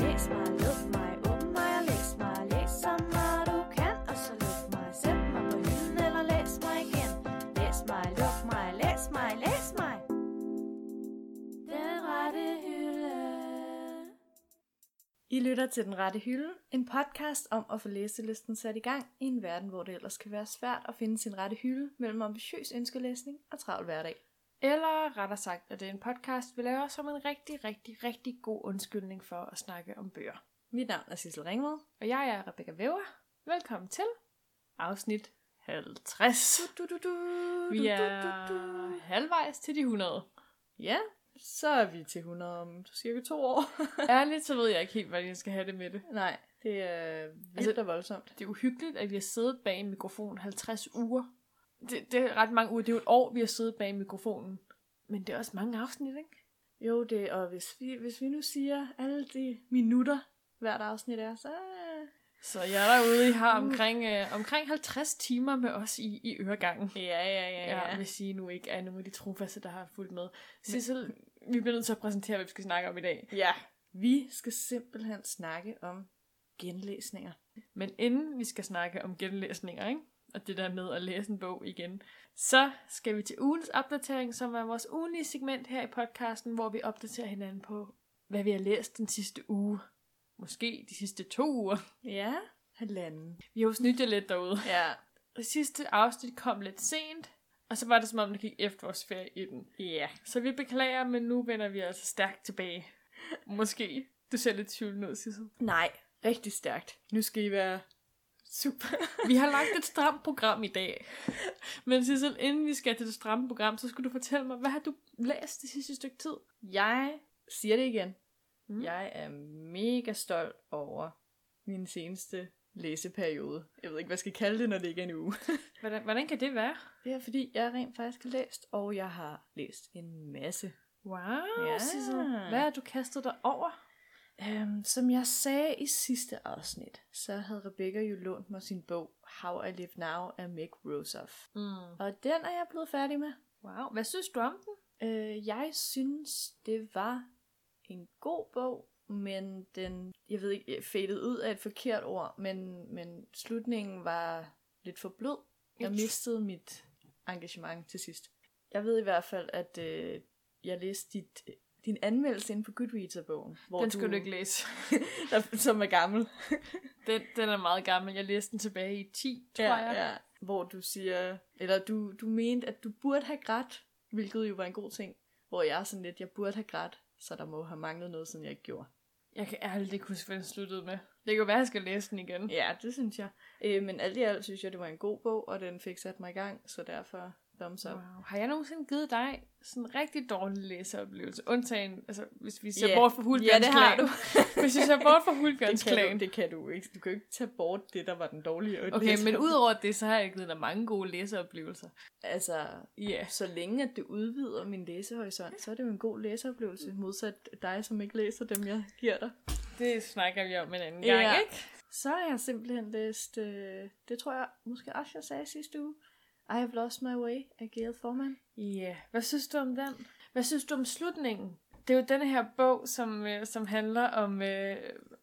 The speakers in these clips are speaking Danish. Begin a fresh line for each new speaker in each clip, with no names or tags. læs mig, luk mig, åbn mig og læs mig. Læs så meget du kan, og så luk mig. Sæt mig på hylden eller læs mig igen. Læs mig, luk mig, læs mig, læs mig. Den rette hylde.
I lytter til Den Rette Hylde, en podcast om at få læselisten sat i gang i en verden, hvor det ellers kan være svært at finde sin rette hylde mellem ambitiøs ønskelæsning og travl hverdag.
Eller rettere sagt, at det er en podcast, vi laver som en rigtig, rigtig, rigtig god undskyldning for at snakke om bøger.
Mit navn er Sissel Ringved.
Og jeg er Rebecca Væver. Velkommen til afsnit 50.
Du, du, du,
Vi
du,
er
du, du, du.
halvvejs til de 100.
Ja, så er vi til 100 om cirka to år.
Ærligt, så ved jeg ikke helt, hvordan jeg skal have det med det.
Nej, det er vildt
Altså-
og voldsomt.
Det er uhyggeligt, at vi har siddet bag en mikrofon 50 uger. Det, det er ret mange uger. Det er jo et år, vi har siddet bag mikrofonen. Men det er også mange afsnit, ikke?
Jo, det, og hvis vi, hvis vi nu siger alle de minutter, hvert afsnit er, så...
Så jeg er derude, I har omkring, øh, omkring 50 timer med os i, i øregangen.
Ja, ja, ja,
Ja, ja. hvis I nu ikke er nogen af de trofaste, der har fulgt med. Sissel, vi bliver nødt til at præsentere, hvad vi skal snakke om i dag.
Ja, vi skal simpelthen snakke om genlæsninger.
Men inden vi skal snakke om genlæsninger, ikke? og det der med at læse en bog igen, så skal vi til ugens opdatering, som er vores ugenlige segment her i podcasten, hvor vi opdaterer hinanden på, hvad vi har læst den sidste uge. Måske de sidste to uger.
Ja, halvanden.
Vi har jo snydt jer lidt derude.
Ja,
Det sidste afsnit kom lidt sent, og så var det som om, det gik efterårsferie i den.
ja.
Så vi beklager, men nu vender vi altså stærkt tilbage. Måske. Du ser lidt tvivlende ud, Sissel.
Nej, rigtig stærkt. Nu skal I være super.
Vi har lagt et stramt program i dag. Men Sissel, inden vi skal til det stramme program, så skal du fortælle mig, hvad har du læst det sidste stykke tid?
Jeg siger det igen.
Mm.
Jeg er mega stolt over min seneste læseperiode. Jeg ved ikke, hvad jeg skal kalde det, når det ikke er en uge.
Hvordan, hvordan kan det være?
Det er fordi, jeg rent faktisk har læst, og jeg har læst en masse.
Wow,
Ja.
Sissel. Hvad har du kastet dig over?
Øhm, som jeg sagde i sidste afsnit, så havde Rebecca jo lånt mig sin bog How I Live Now af Meg Rosoff.
Mm.
Og den er jeg blevet færdig med.
Wow, hvad synes du om den?
Øh, jeg synes, det var en god bog, men den, jeg ved ikke, faded ud af et forkert ord, men, men slutningen var lidt for blød. Jeg
Et-
mistede mit engagement til sidst. Jeg ved i hvert fald, at øh, jeg læste dit, din anmeldelse inde på Goodreads-bogen. Hvor
Den skal du ikke læse.
der, som er gammel.
Den, den er meget gammel. Jeg læste den tilbage i 10, tror jeg.
ja. Hvor du siger, eller du, du mente, at du burde have grædt, hvilket jo var en god ting. Hvor jeg er sådan lidt, jeg burde have grædt, så der må have manglet noget, siden jeg ikke gjorde.
Jeg kan ærligt ikke huske, hvad den sluttede med. Det kan jo være, at jeg skal læse den igen.
Ja, det synes jeg. Øh, men alt i alt synes jeg, det var en god bog, og den fik sat mig i gang, så derfor thumbs up.
Wow. Har jeg nogensinde givet dig sådan en rigtig dårlig læseoplevelse? Undtagen, altså hvis vi ser
Ja.
bort fra Hulbjørns
Ja, det har
Klan. hvis vi ser bort fra Hulbjørns
Det kan,
Klan.
du, det kan du ikke. Du kan jo ikke tage bort det, der var den dårlige.
Okay, men udover det, så har jeg givet dig mange gode læseoplevelser.
Altså,
Ja. Yeah.
så længe at det udvider min læsehorisont, så er det jo en god læseoplevelse, modsat dig, som ikke læser dem, jeg giver dig.
Det snakker vi om en anden
Ja.
gang, yeah. ikke?
Så har jeg simpelthen læst, øh, det tror jeg måske også, jeg sagde sidste uge, I Have Lost My Way af Gail Forman.
Ja. Yeah. Hvad synes du om den? Hvad synes du om slutningen? Det er jo den her bog, som, øh, som handler om øh,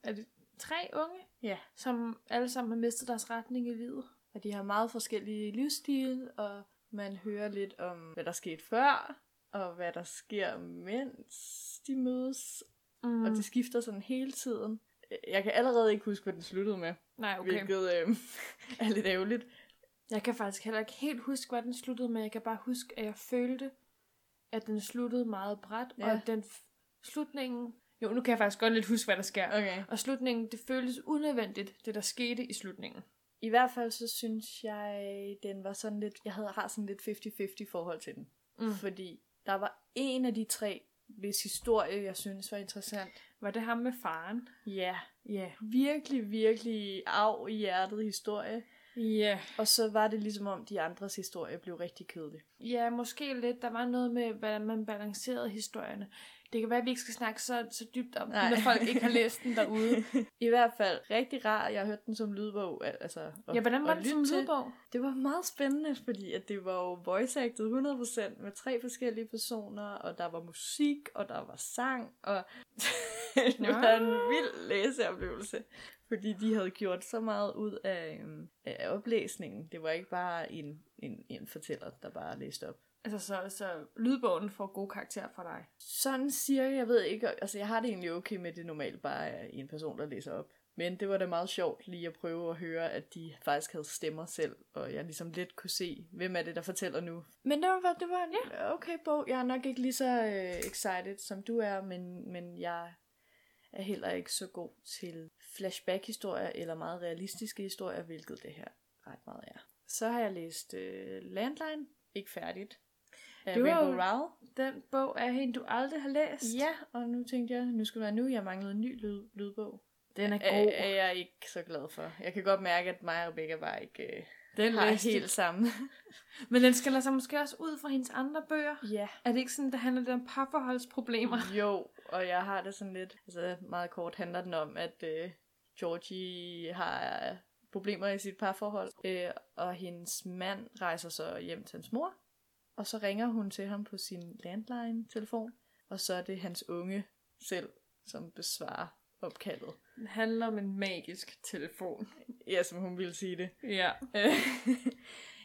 er det tre unge,
Ja.
som alle sammen har mistet deres retning i livet.
Og de har meget forskellige livsstil, og man hører lidt om, hvad der skete før, og hvad der sker, mens de mødes.
Mm.
Mm. Og det skifter sådan hele tiden. Jeg kan allerede ikke huske, hvad den sluttede med,
Nej,
okay.
okay.
hvilket øh, er lidt ærgerligt.
Jeg kan faktisk heller ikke helt huske, hvordan den sluttede, men jeg kan bare huske, at jeg følte, at den sluttede meget bræt, ja. og
Ja.
at den f- slutningen... Jo, nu kan jeg faktisk godt lidt huske, hvad der sker.
Okay.
Og slutningen, det føltes unødvendigt, det der skete i slutningen.
I hvert fald så synes jeg, den var sådan lidt, jeg havde, har sådan lidt 50-50 forhold til den.
Mm.
Fordi der var en af de tre, hvis historie jeg synes var interessant.
Var det ham med faren?
Ja,
Ja.
virkelig, virkelig af i hjertet historie.
Ja.
Og så var det ligesom om, de andres historie blev rigtig kedelig.
Ja, måske lidt. Der var noget med, hvordan man balancerede historierne. Det kan være, at vi ikke skal snakke så, så dybt om
Nej.
den, når folk ikke har læst den derude.
I hvert fald rigtig rar, jeg hørte den som lydbog. al- Altså, og,
Ja, hvordan var det som lydbog?
Det var meget spændende, fordi at det var jo voice acted 100% med tre forskellige personer, og der var musik, og der var sang, og det var en vild læseoplevelse. Fordi de havde gjort så meget ud af, øhm, af oplæsningen. Det var ikke bare en, en, en fortæller, der bare læste op.
Altså, så, så lydbogen får gode karakterer for dig.
Sådan cirka, jeg ved ikke. Altså, jeg har det egentlig okay med, at det normalt bare er en person, der læser op. Men det var da meget sjovt lige at prøve at høre, at de faktisk havde stemmer selv, og jeg ligesom lidt kunne se, hvem er det, der fortæller nu. Men det var, det var en ja. okay bog. Jeg er nok ikke lige så øh, excited, som du er, men, men jeg er heller ikke så god til flashback-historier eller meget realistiske historier, hvilket det her ret meget er. Så har jeg læst øh, Landline. Ikke færdigt. Af
Det var
Rainbow
jo-
Rowell.
Den bog er en, du aldrig har læst.
Ja, og nu tænkte jeg, nu skulle det være nu, jeg manglede en ny lyd, lydbog.
Den er
Er,
god.
er jeg ikke så glad for. Jeg kan godt mærke, at mig og Rebecca bare ikke øh,
den
har
læste
helt sammen.
Men den skiller sig måske også ud fra hendes andre bøger.
Ja.
Er det ikke sådan, der handler det om parforholdsproblemer?
Jo, og jeg har det sådan lidt, altså meget kort handler den om, at øh, Georgie har øh, problemer i sit parforhold, øh, og hendes mand rejser så hjem til hans mor, og så ringer hun til ham på sin landline-telefon, og så er det hans unge selv, som besvarer opkaldet.
Den handler om en magisk telefon.
Ja, som hun ville sige det.
Ja.
Øh,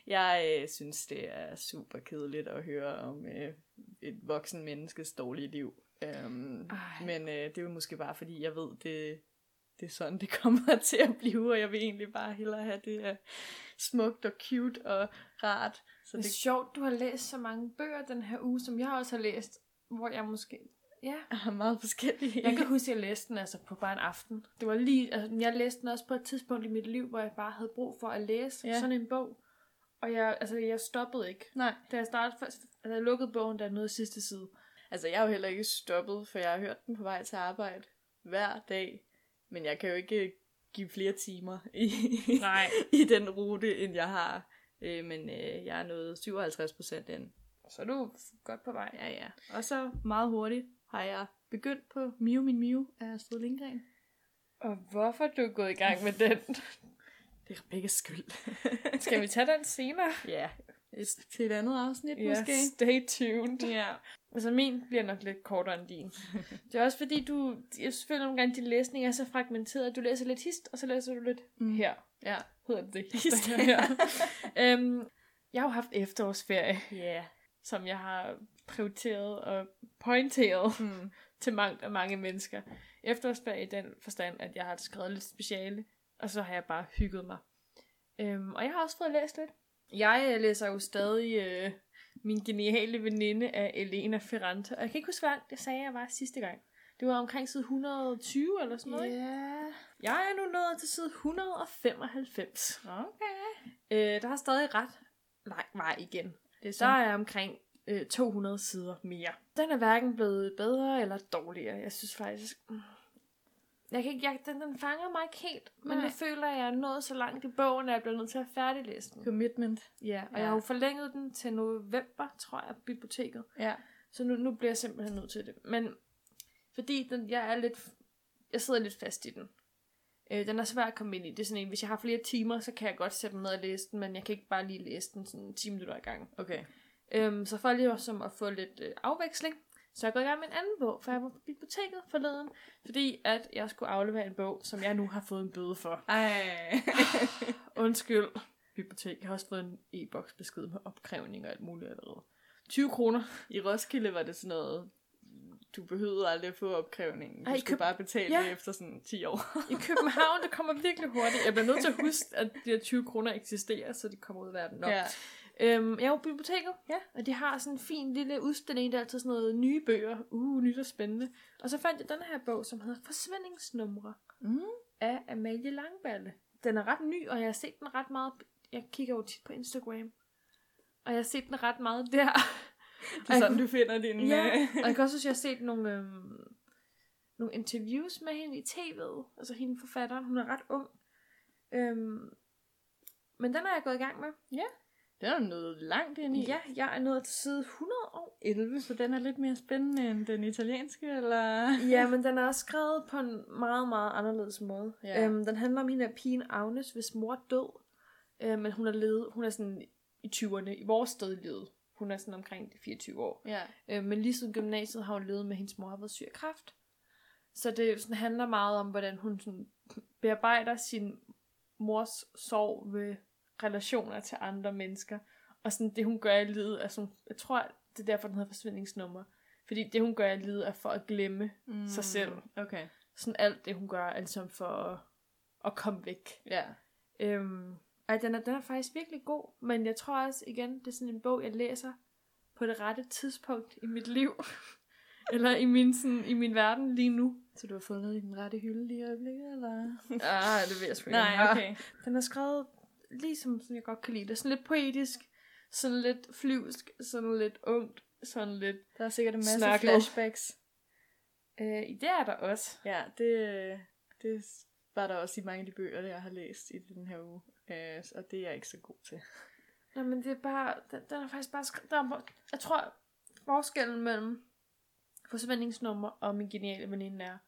jeg øh, synes, det er super kedeligt at høre om øh, et voksen menneskes dårlige liv. Øhm,
Ej.
men øh, det er jo måske bare, fordi jeg ved, det, det er sådan, det kommer til at blive, og jeg vil egentlig bare hellere have det er smukt og cute og rart. Så
Så det er
det,
sjovt, du har læst så mange bøger den her uge, som jeg også har læst, hvor jeg måske... Ja,
er meget forskelligt.
jeg kan huske, at jeg læste den altså på bare en aften. Det var lige, altså, jeg læste den også på et tidspunkt i mit liv, hvor jeg bare havde brug for at læse
Ja.
ja. sådan en bog. Og jeg, altså, jeg stoppede ikke.
Nej,
Da jeg startede først, altså, jeg lukkede bogen, der nåede sidste side.
altså jeg er jo heller ikke stoppet, for jeg har hørt den på vej til arbejde hver dag. Men jeg kan jo ikke give flere timer i,
Nej.
i den rute, end jeg har. Øh, men øh, jeg er nået 57 procent ind.
Så er du godt på vej.
Ja, ja. Og så meget hurtigt har jeg begyndt på Miu Min Miu af Astrid Lindgren.
Og hvorfor du er gået i gang med den?
Det er Rebekkas skyld.
Skal vi tage den senere?
ja, et, til et andet afsnit
Ja,
måske.
stay tuned.
Ja.
Altså min bliver nok lidt kortere end din. Det er også fordi, du, jeg føler nogle gange, at din læsning er så fragmenteret. Du læser lidt hist, og så læser du lidt
Mm.
mm. her.
Ja.
Hedder det det?
Hist.
Hist. her. øhm, jeg har jo haft efterårsferie,
Yeah.
som jeg har prioriteret og pointeret
Mm.
til mange og mange mennesker. Efterårsferie i den forstand, at jeg har skrevet lidt speciale, og så har jeg bare hygget mig. Øhm, og jeg har også fået læst lidt. Jeg øh, læser jo stadig øh, min geniale veninde af Elena Ferrante, og jeg kan ikke huske, hvad jeg sagde, jeg var sidste gang. Det var omkring side 120 eller sådan noget. Yeah.
Yeah.
Jeg er nu nået til side 195.
Okay.
Øh, der er stadig ret lang vej igen.
Det er
Der
sådan,
er omkring øh, 200 sider mere. Den er hverken blevet bedre eller dårligere. Jeg synes faktisk... mm, Jeg kan ikke, jeg, den, den fanger mig ikke helt, men
Nej.
jeg føler, at jeg er nået så langt i bogen, at jeg bliver nødt til at færdiglæse den.
commitment.
Ja, og
Ja.
jeg har jo forlænget den til november, tror jeg, på biblioteket.
Ja.
Så nu, nu bliver jeg simpelthen nødt til det. Men fordi den, jeg er lidt, jeg sidder lidt fast i den. Øh, den er svær at komme ind i. Det er sådan en, hvis jeg har flere timer, så kan jeg godt sætte mig ned og læse den, men jeg kan ikke bare lige læse den sådan 10 minutter ad gangen.
Okay.
Øhm, så for lige som at få lidt øh, afveksling, så er jeg gået i gang med en anden bog, for jeg var på biblioteket forleden, fordi at jeg skulle aflevere en bog, som jeg nu har fået en bøde for.
Ej.
Undskyld, bibliotek. Jeg har også fået en e-boks besked med opkrævning og alt muligt allerede. 20 kroner.
I Roskilde var det sådan noget, du behøvede aldrig at få opkrævningen. Du
Ej,
Ej, skulle
køb-
bare betale
Ja.
ja. efter sådan 10 år.
I København, det kommer virkelig hurtigt. Jeg bliver nødt til at huske, at de her 20 kroner eksisterer, så de kommer ud af verden. Nå.
Ja.
Øhm, jeg er jo på biblioteket,
Ja.
og de har sådan en fin lille udstilling, der er altid sådan noget nye bøger. Uh, nyt og spændende. Og så fandt jeg den her bog, som hedder Forsvindingsnumre
Mm.
af Amalie Langballe. Den er ret ny, og jeg har set den ret meget. Jeg kigger jo tit på Instagram, og jeg har set den ret meget der.
Det er sådan, du finder din...
Ja,
øh,
og jeg kan også synes, jeg har set nogle, øhm, nogle interviews med hende i tv'et. Altså hende forfatteren, hun er ret ung. Øhm, men den er jeg gået i gang med.
Den er nået langt ind i.
Ja, jeg er nået til side 111.
Så den er lidt mere spændende end den italienske, eller?
Ja, men den er også skrevet på en meget, meget anderledes måde.
Ja.
Ja. Øhm, den handler om hende af pigen Agnes, hvis mor er død. Øh, men hun er, levet, hun er sådan i 20'erne, i vores sted i livet. Hun er sådan omkring de 24 år. Øhm,
Ja.
Øh, men lige siden gymnasiet har hun levet med at hendes mor, har været syg af kræft. Så det sådan handler meget om, hvordan hun sådan bearbejder sin mors sorg ved relationer til andre mennesker. Og sådan det, hun gør i livet, er sådan, jeg tror, det er derfor, den hedder forsvindingsnummer. Fordi det, hun gør i livet, er for at glemme
Mm.
sig selv.
Okay.
sådan alt det, hun gør, altså for at, at komme væk.
Ja.
Øhm, ej, den er, den er faktisk virkelig god, men jeg tror også, igen, det er sådan en bog, jeg læser på det rette tidspunkt i mit liv. Eller i min, sådan, i min verden lige nu.
Så du har fundet noget i den rette hylde lige i øjeblikket, eller?
Ah, det ved jeg sgu
Nej,
okay. Den er skrevet ligesom sådan, jeg godt kan lide det. Sådan lidt poetisk, sådan lidt flyvsk, sådan lidt ungt, sådan lidt...
Der er sikkert en masse
Snakket.
flashbacks.
Øh, det er der også.
Ja, det, det var der også i mange af de bøger, jeg har læst i den her uge. Øh, og det er jeg ikke så god til.
Nej, men det er bare, den, den er faktisk bare, skri- der er, mo- jeg tror, forskellen mellem forsvindingsnummer og min geniale veninde er,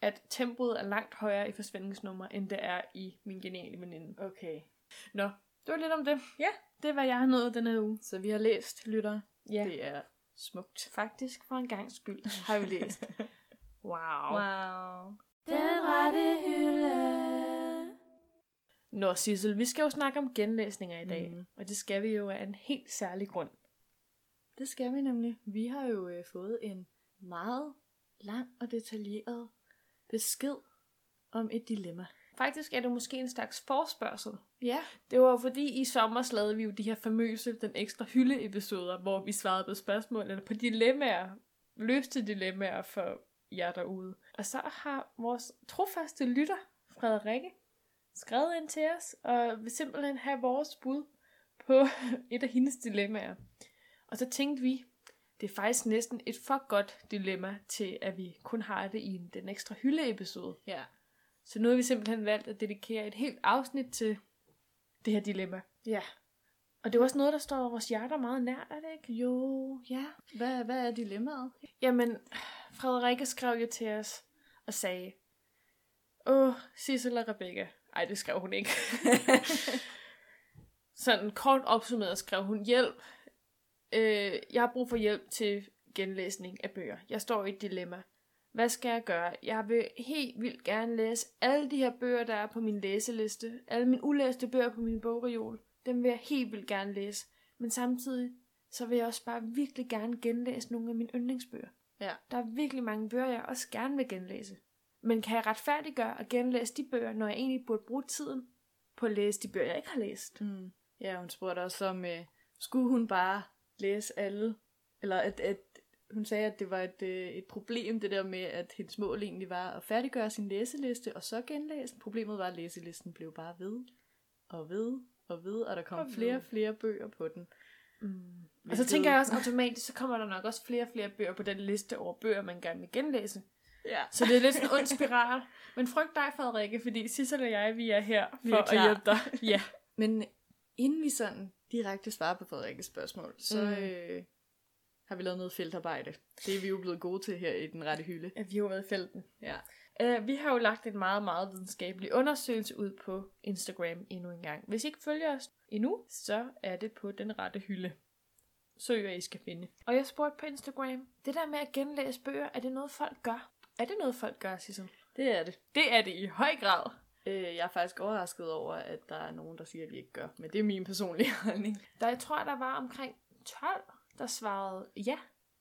at tempoet er langt højere i forsvindingsnummer, end det er i min geniale veninde.
Okay.
Nå, det var lidt om det.
Ja.
Det var jeg har nået den her uge.
Så vi har læst, lytter.
Ja.
Det er smukt.
Faktisk for en gang skyld har vi læst. wow.
Wow.
Den rette hylde.
Nå, Sissel, vi skal jo snakke om genlæsninger i dag.
Mhm.
Mm. Og det skal vi jo af en helt særlig grund.
Det skal vi nemlig. Vi har jo øh, fået en meget lang og detaljeret besked om et dilemma.
Faktisk er det måske en slags forspørgsel
Ja.
Det var jo fordi i sommer lavede vi jo de her famøse den ekstra hylde episoder, hvor vi svarede på spørgsmål eller på dilemmaer, løste dilemmaer for jer derude. Og så har vores trofaste lytter, Frederikke, skrevet ind til os og vil simpelthen have vores bud på et af hendes dilemmaer. Og så tænkte vi, det er faktisk næsten et for godt dilemma til, at vi kun har det i en- den ekstra hylde episode.
Ja.
Så nu har vi simpelthen valgt at dedikere et helt afsnit til det her dilemma.
Ja.
Og det er også noget, der står vores hjerter meget nært, er det ikke?
Jo, ja. Hvad, hvad er dilemmaet?
Jamen, Frederikke skrev jo til os og sagde, Åh, Sissel og Rebecca. Ej, det skrev hun ikke. Sådan kort opsummeret skrev hun hjælp. Øh, jeg har brug for hjælp til genlæsning af bøger. Jeg står i et dilemma. Hvad skal jeg gøre? Jeg vil helt vildt gerne læse alle de her bøger, der er på min læseliste. Alle mine ulæste bøger på min bogreol. Dem vil jeg helt vildt gerne læse. Men samtidig, så vil jeg også bare virkelig gerne genlæse nogle af mine yndlingsbøger.
Ja.
Der er virkelig mange bøger, jeg også gerne vil genlæse. Men kan jeg retfærdiggøre at genlæse de bøger, når jeg egentlig burde bruge tiden på at læse de bøger, jeg ikke har læst?
Mm. Ja, hun spurgte også om, øh, skulle hun bare læse alle? Eller at, at hun sagde, at det var et, øh, et problem, det der med, at hendes mål egentlig var at færdiggøre sin læseliste, og så genlæse. den. Problemet var, at læselisten blev bare ved, og ved, og ved, og der kom
Og
og
ved.
flere og flere bøger på den.
Mm. Og så
Hvilket-
tænker jeg også automatisk, så kommer der nok også flere og flere bøger på den liste over bøger, man gerne vil genlæse.
Ja.
Så det er lidt sådan en ond spiral. Men frygt dig, Frederikke, fordi Sissel og jeg, vi er her
Vi
for
er
at
klar.
hjælpe dig. Ja.
Men inden vi sådan direkte svarer på Frederikkes spørgsmål, så
Mm.
mm. øh, har vi lavet noget feltarbejde. Det er vi jo blevet gode til her i den rette hylde.
At vi har jo været i felten.
Ja.
Uh, vi har jo lagt en meget, meget videnskabelig undersøgelse ud på Instagram endnu en gang. Hvis I ikke følger os endnu, så er det på den rette hylde. Søg, hvad I skal finde. Og jeg spurgte på Instagram, det der med at genlæse bøger, er det noget folk gør? Er det noget folk gør, Sissel?
Det er det.
Det er det i høj grad.
Øh, jeg er faktisk overrasket over, at der er nogen, der siger, at vi ikke gør. Men det er min personlige holdning.
Der, jeg tror, der var omkring 12, der svarede ja,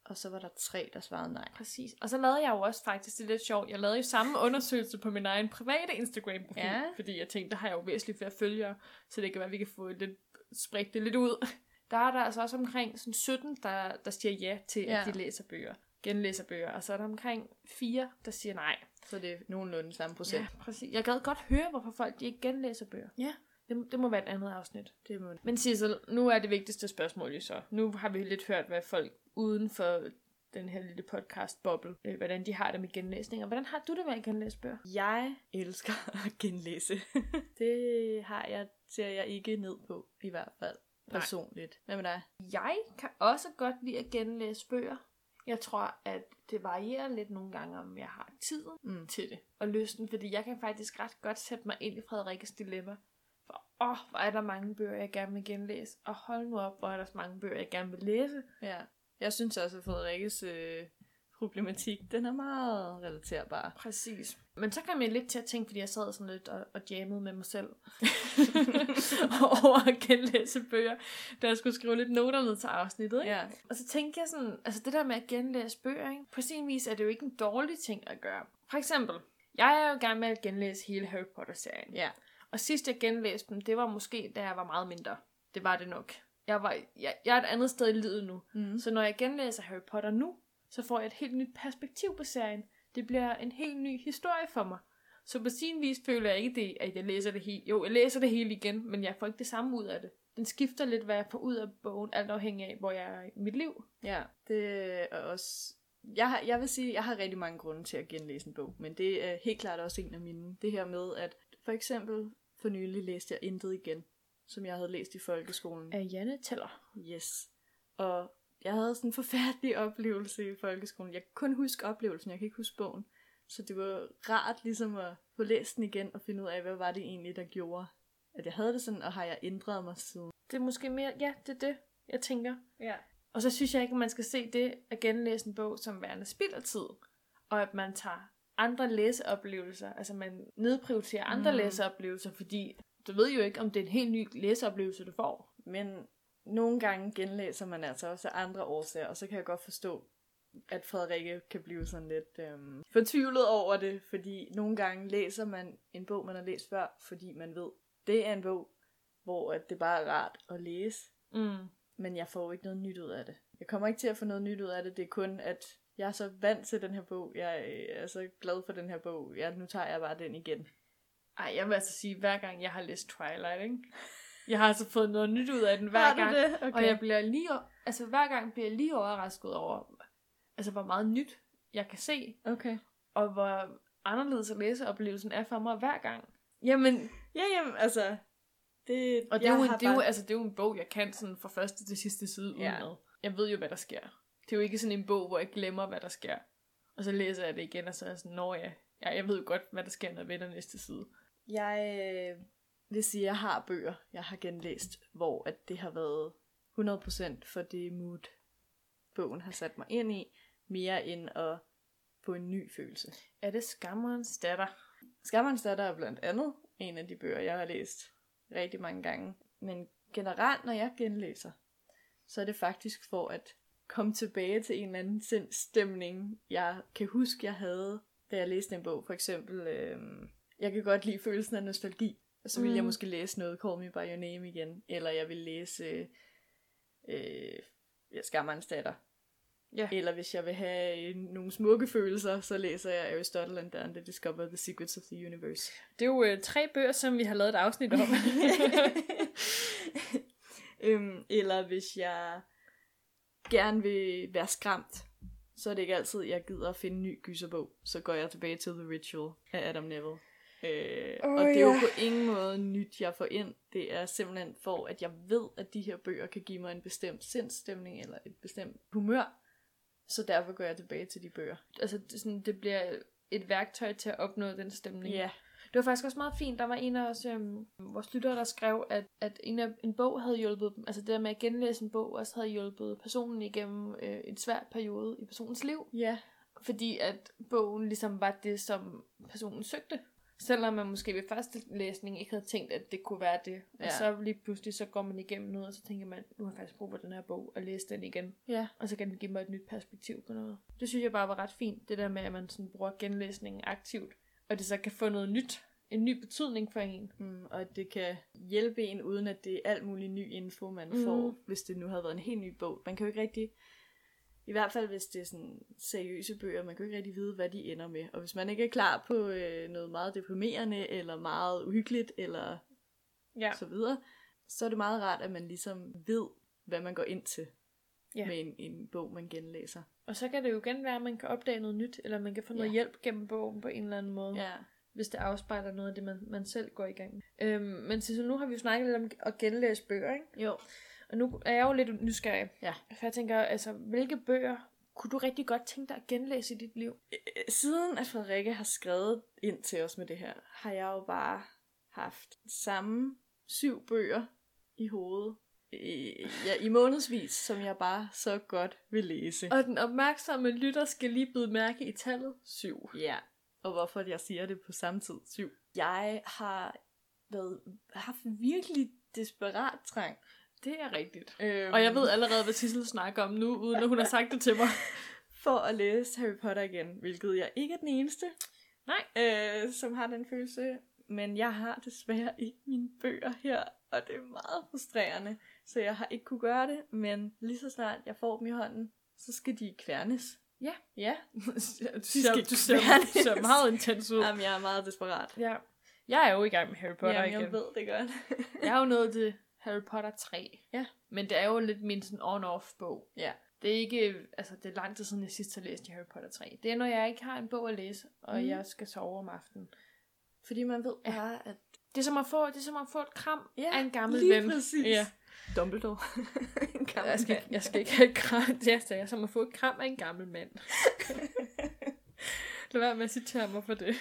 Og så var der tre, der svarede nej.
præcis. Og så lavede jeg jo også faktisk, det er lidt sjovt, jeg lavede jo samme undersøgelse på min egen private Instagram-profil,
Ja.
fordi jeg tænkte, der har jeg jo væsentligt flere følgere, så det kan være, at vi kan få lidt, spredt det lidt ud. Der er der altså også omkring sådan 17, der, der siger ja til, ja.
Ja.
at de læser bøger, genlæser bøger, og så er der omkring 4, der siger nej.
Så det er nogenlunde samme procent.
Ja, præcis. Jeg gad godt høre, hvorfor folk de ikke genlæser bøger.
Ja.
Det, det må være et andet afsnit.
Det må...
Men Sissel, nu er det vigtigste spørgsmål jo så. Nu har vi lidt hørt, hvad folk uden for den her lille podcast-boble, øh, hvordan de har det med genlæsninger. Hvordan har du det med at genlæse bøger?
Jeg elsker at genlæse. det har jeg, ser jeg ikke ned på, i hvert fald
Nej.
personligt. Hvad med dig?
Jeg kan også godt lide at genlæse bøger. Jeg tror, at det varierer lidt nogle gange, om jeg har tiden
Mm.
til det og lysten, fordi jeg kan faktisk ret godt sætte mig ind i Frederikkes dilemma. For åh, oh, hvor er der mange bøger, jeg gerne vil genlæse, og hold nu op, hvor er der så mange bøger, jeg gerne vil læse.
Ja. Jeg synes også, at Frederikkes øh, problematik, den er meget relaterbar.
Præcis. Men så kom jeg lidt til at tænke, fordi jeg sad sådan lidt og, og jammede med mig selv over at genlæse bøger, da jeg skulle skrive lidt noter ned til afsnittet. Ikke?
Ja.
Og så tænkte jeg sådan, altså det der med at genlæse bøger, ikke? på sin vis er det jo ikke en dårlig ting at gøre. For eksempel, jeg er jo i gang med at genlæse hele Harry Potter-serien.
Ja.
Og sidst jeg genlæste dem, det var måske, da jeg var meget mindre. Det var det nok. Jeg, var, jeg, jeg er et andet sted i livet nu.
Mm.
Så når jeg genlæser Harry Potter nu, så får jeg et helt nyt perspektiv på serien. Det bliver en helt ny historie for mig. Så på sin vis føler jeg ikke det, at jeg læser det hele. Jo, jeg læser det hele igen, men jeg får ikke det samme ud af det. Den skifter lidt, hvad jeg får ud af bogen, alt afhængig af, hvor jeg er i mit liv.
Ja, det er også... Jeg, har, jeg vil sige, jeg har rigtig mange grunde til at genlæse en bog, men det er helt klart også en af mine. Det her med, at for eksempel for nylig læste jeg Intet igen, som jeg havde læst i folkeskolen.
Af Janne Teller.
Yes. Og jeg havde sådan en forfærdelig oplevelse i folkeskolen. Jeg kan kun huske oplevelsen, jeg kan ikke huske bogen. Så det var rart ligesom at få læst den igen og finde ud af, hvad var det egentlig, der gjorde, at jeg havde det sådan, og har jeg ændret mig siden.
Det er måske mere, ja, det er det, jeg tænker.
Ja.
Og så synes jeg ikke, at man skal se det at genlæse en bog som værende spild af tid. Og at man tager andre læseoplevelser, altså man nedprioriterer andre
Mm.
mm. læseoplevelser, fordi du ved jo ikke, om det er en helt ny læseoplevelse, du får.
Men nogle gange genlæser man altså også af andre årsager, og så kan jeg godt forstå, at Frederikke kan blive sådan lidt øhm, fortvivlet over det, fordi nogle gange læser man en bog, man har læst før, fordi man ved, det er en bog, hvor at det bare er rart at læse,
Mm.
men jeg får jo ikke noget nyt ud af det. Jeg kommer ikke til at få noget nyt ud af det, det er kun, at jeg er så vant til den her bog, jeg øh, er så glad for den her bog, ja, nu tager jeg bare den igen.
Ej, jeg vil altså sige, hver gang jeg har læst Twilight, ikke? Jeg har altså fået noget nyt ud af den hver
Har du
gang.
det? Okay.
Og jeg bliver lige, altså hver gang bliver jeg lige overrasket over, altså hvor meget nyt jeg kan se,
okay.
og hvor anderledes læseoplevelsen er for mig hver gang.
Jamen, ja, jamen, altså, det,
Og det
jeg
er, jo en,
har
det, er jo,
bare-
altså, det er jo en bog, jeg kan sådan fra første til sidste side
Ja.
ja. udenad. Jeg ved jo, hvad der sker. Det er jo ikke sådan en bog, hvor jeg glemmer, hvad der sker. Og så læser jeg det igen, og så er jeg sådan, nå ja, ja jeg ved jo godt, hvad der sker, når jeg vender næste side.
Jeg øh, vil sige, at jeg har bøger, jeg har genlæst, hvor at det har været 100% for det mood, bogen har sat mig ind i, mere end at få en ny følelse.
Er det skammerens datter?
Skammerens datter er blandt andet en af de bøger, jeg har læst rigtig mange gange. Men generelt, når jeg genlæser, så er det faktisk for at komme tilbage til en eller anden sind- stemning, jeg kan huske, jeg havde, da jeg læste en bog. For eksempel, øh, jeg kan godt lide følelsen af nostalgi. Og så ville mm. jeg
Mm.
måske læse noget Call Me By Your Name igen. Eller jeg vil læse øh, øh, ja, Skammerens datter.
Ja.
Eller hvis jeg vil have øh, nogle smukke følelser, så læser jeg Aristotle and Dante Discover the Secrets of the Universe.
Det er jo øh, tre bøger, som vi har lavet et afsnit om.
øhm, eller hvis jeg gerne vil være skræmt, så er det ikke altid, jeg gider at finde en ny gyserbog. Så går jeg tilbage til The Ritual af Adam Neville. Øh, oh,
Åh,
og det er jo
ja.
på ingen måde nyt, jeg får ind. Det er simpelthen for, at jeg ved, at de her bøger kan give mig en bestemt sindsstemning eller et bestemt humør. Så derfor går jeg tilbage til de bøger.
altså, det, sådan, det bliver et værktøj til at opnå den stemning.
Ja.
Det var faktisk også meget fint. Der var en af os, øhm, vores lyttere, der skrev, at, at en, af, en bog havde hjulpet dem. Altså det der med at genlæse en bog også havde hjulpet personen igennem øh, en svær periode i personens liv.
Ja.
Fordi at bogen ligesom var det, som personen søgte. Selvom man måske ved første læsning ikke havde tænkt, at det kunne være det. Ja.
Ja.
Og så lige pludselig, så går man igennem noget, og så tænker man, nu har jeg faktisk brug for den her bog, og læse den igen.
Ja.
Og så kan den give mig et nyt perspektiv på noget. Det synes jeg bare var ret fint, det der med, at man sådan bruger genlæsningen aktivt, og det så kan få noget nyt, en ny betydning for en.
Mm, og at det kan hjælpe en, uden at det er alt muligt ny info, man mm.
Mhm.
får, hvis det nu havde været en helt ny bog. Man kan jo ikke rigtig, i hvert fald hvis det er sådan seriøse bøger, man kan jo ikke rigtig vide, hvad de ender med. Og hvis man ikke er klar på øh, noget meget deprimerende, eller meget uhyggeligt, eller
Ja.
ja. så videre, så er det meget rart, at man ligesom ved, hvad man går ind til
Ja.
med en, en bog, man genlæser.
Og så kan det jo igen være, at man kan opdage noget nyt, eller man kan få noget
Ja.
ja. hjælp gennem bogen på en eller anden måde,
Ja.
hvis det afspejler noget af det, man, man selv går i gang med. Øhm, men Sissel, nu har vi jo snakket lidt om at genlæse bøger, ikke?
Jo.
Og nu er jeg jo lidt nysgerrig.
Ja.
For jeg tænker, altså, hvilke bøger kunne du rigtig godt tænke dig at genlæse i dit liv?
Øh, siden at Frederikke har skrevet ind til os med det her, har jeg jo bare haft samme syv bøger i hovedet, i, ja, i månedsvis, som jeg bare så godt vil læse.
Og den opmærksomme lytter skal lige bide mærke i tallet 7.
Ja, og hvorfor jeg siger det på samme tid. Syv. Jeg har været, haft virkelig desperat trang.
Det er rigtigt.
Øhm,
Og jeg ved allerede, hvad Sissel snakker om nu, uden at hun har sagt det til mig.
For at læse Harry Potter igen, hvilket jeg ikke er den eneste,
Nej.
øh, som har den følelse. Men jeg har desværre ikke mine bøger her, og det er meget frustrerende. Så jeg har ikke kunne gøre det, men lige så snart jeg får dem i hånden, så skal de kværnes.
Ja.
Ja.
du,
skal
ser, du, ser,
kværnes.
du ser meget intens ud.
Jamen, jeg er meget desperat.
Ja. Jeg er jo i gang med Harry Potter
Jamen, jeg
igen.
ved det godt.
Jeg er jo nået til Harry Potter 3.
Ja.
Men det er jo lidt min sådan on-off bog.
Ja.
Det er ikke, altså det er lang tid siden, jeg sidst har læst Harry Potter 3. Det er, når jeg ikke har en bog at læse, og
Mm.
mm. jeg skal sove om aftenen.
Fordi man ved bare, at
Det er som at få, det er som at få et kram
Ja,
af en gammel
lige
ven.
præcis.
Ja.
Dumbledore. en gammel
Jeg skal,
mand.
ikke- jeg skal ikke have et kram. Det er altså, jeg er som at få et kram af en gammel mand. Lad være med at citere mig for det.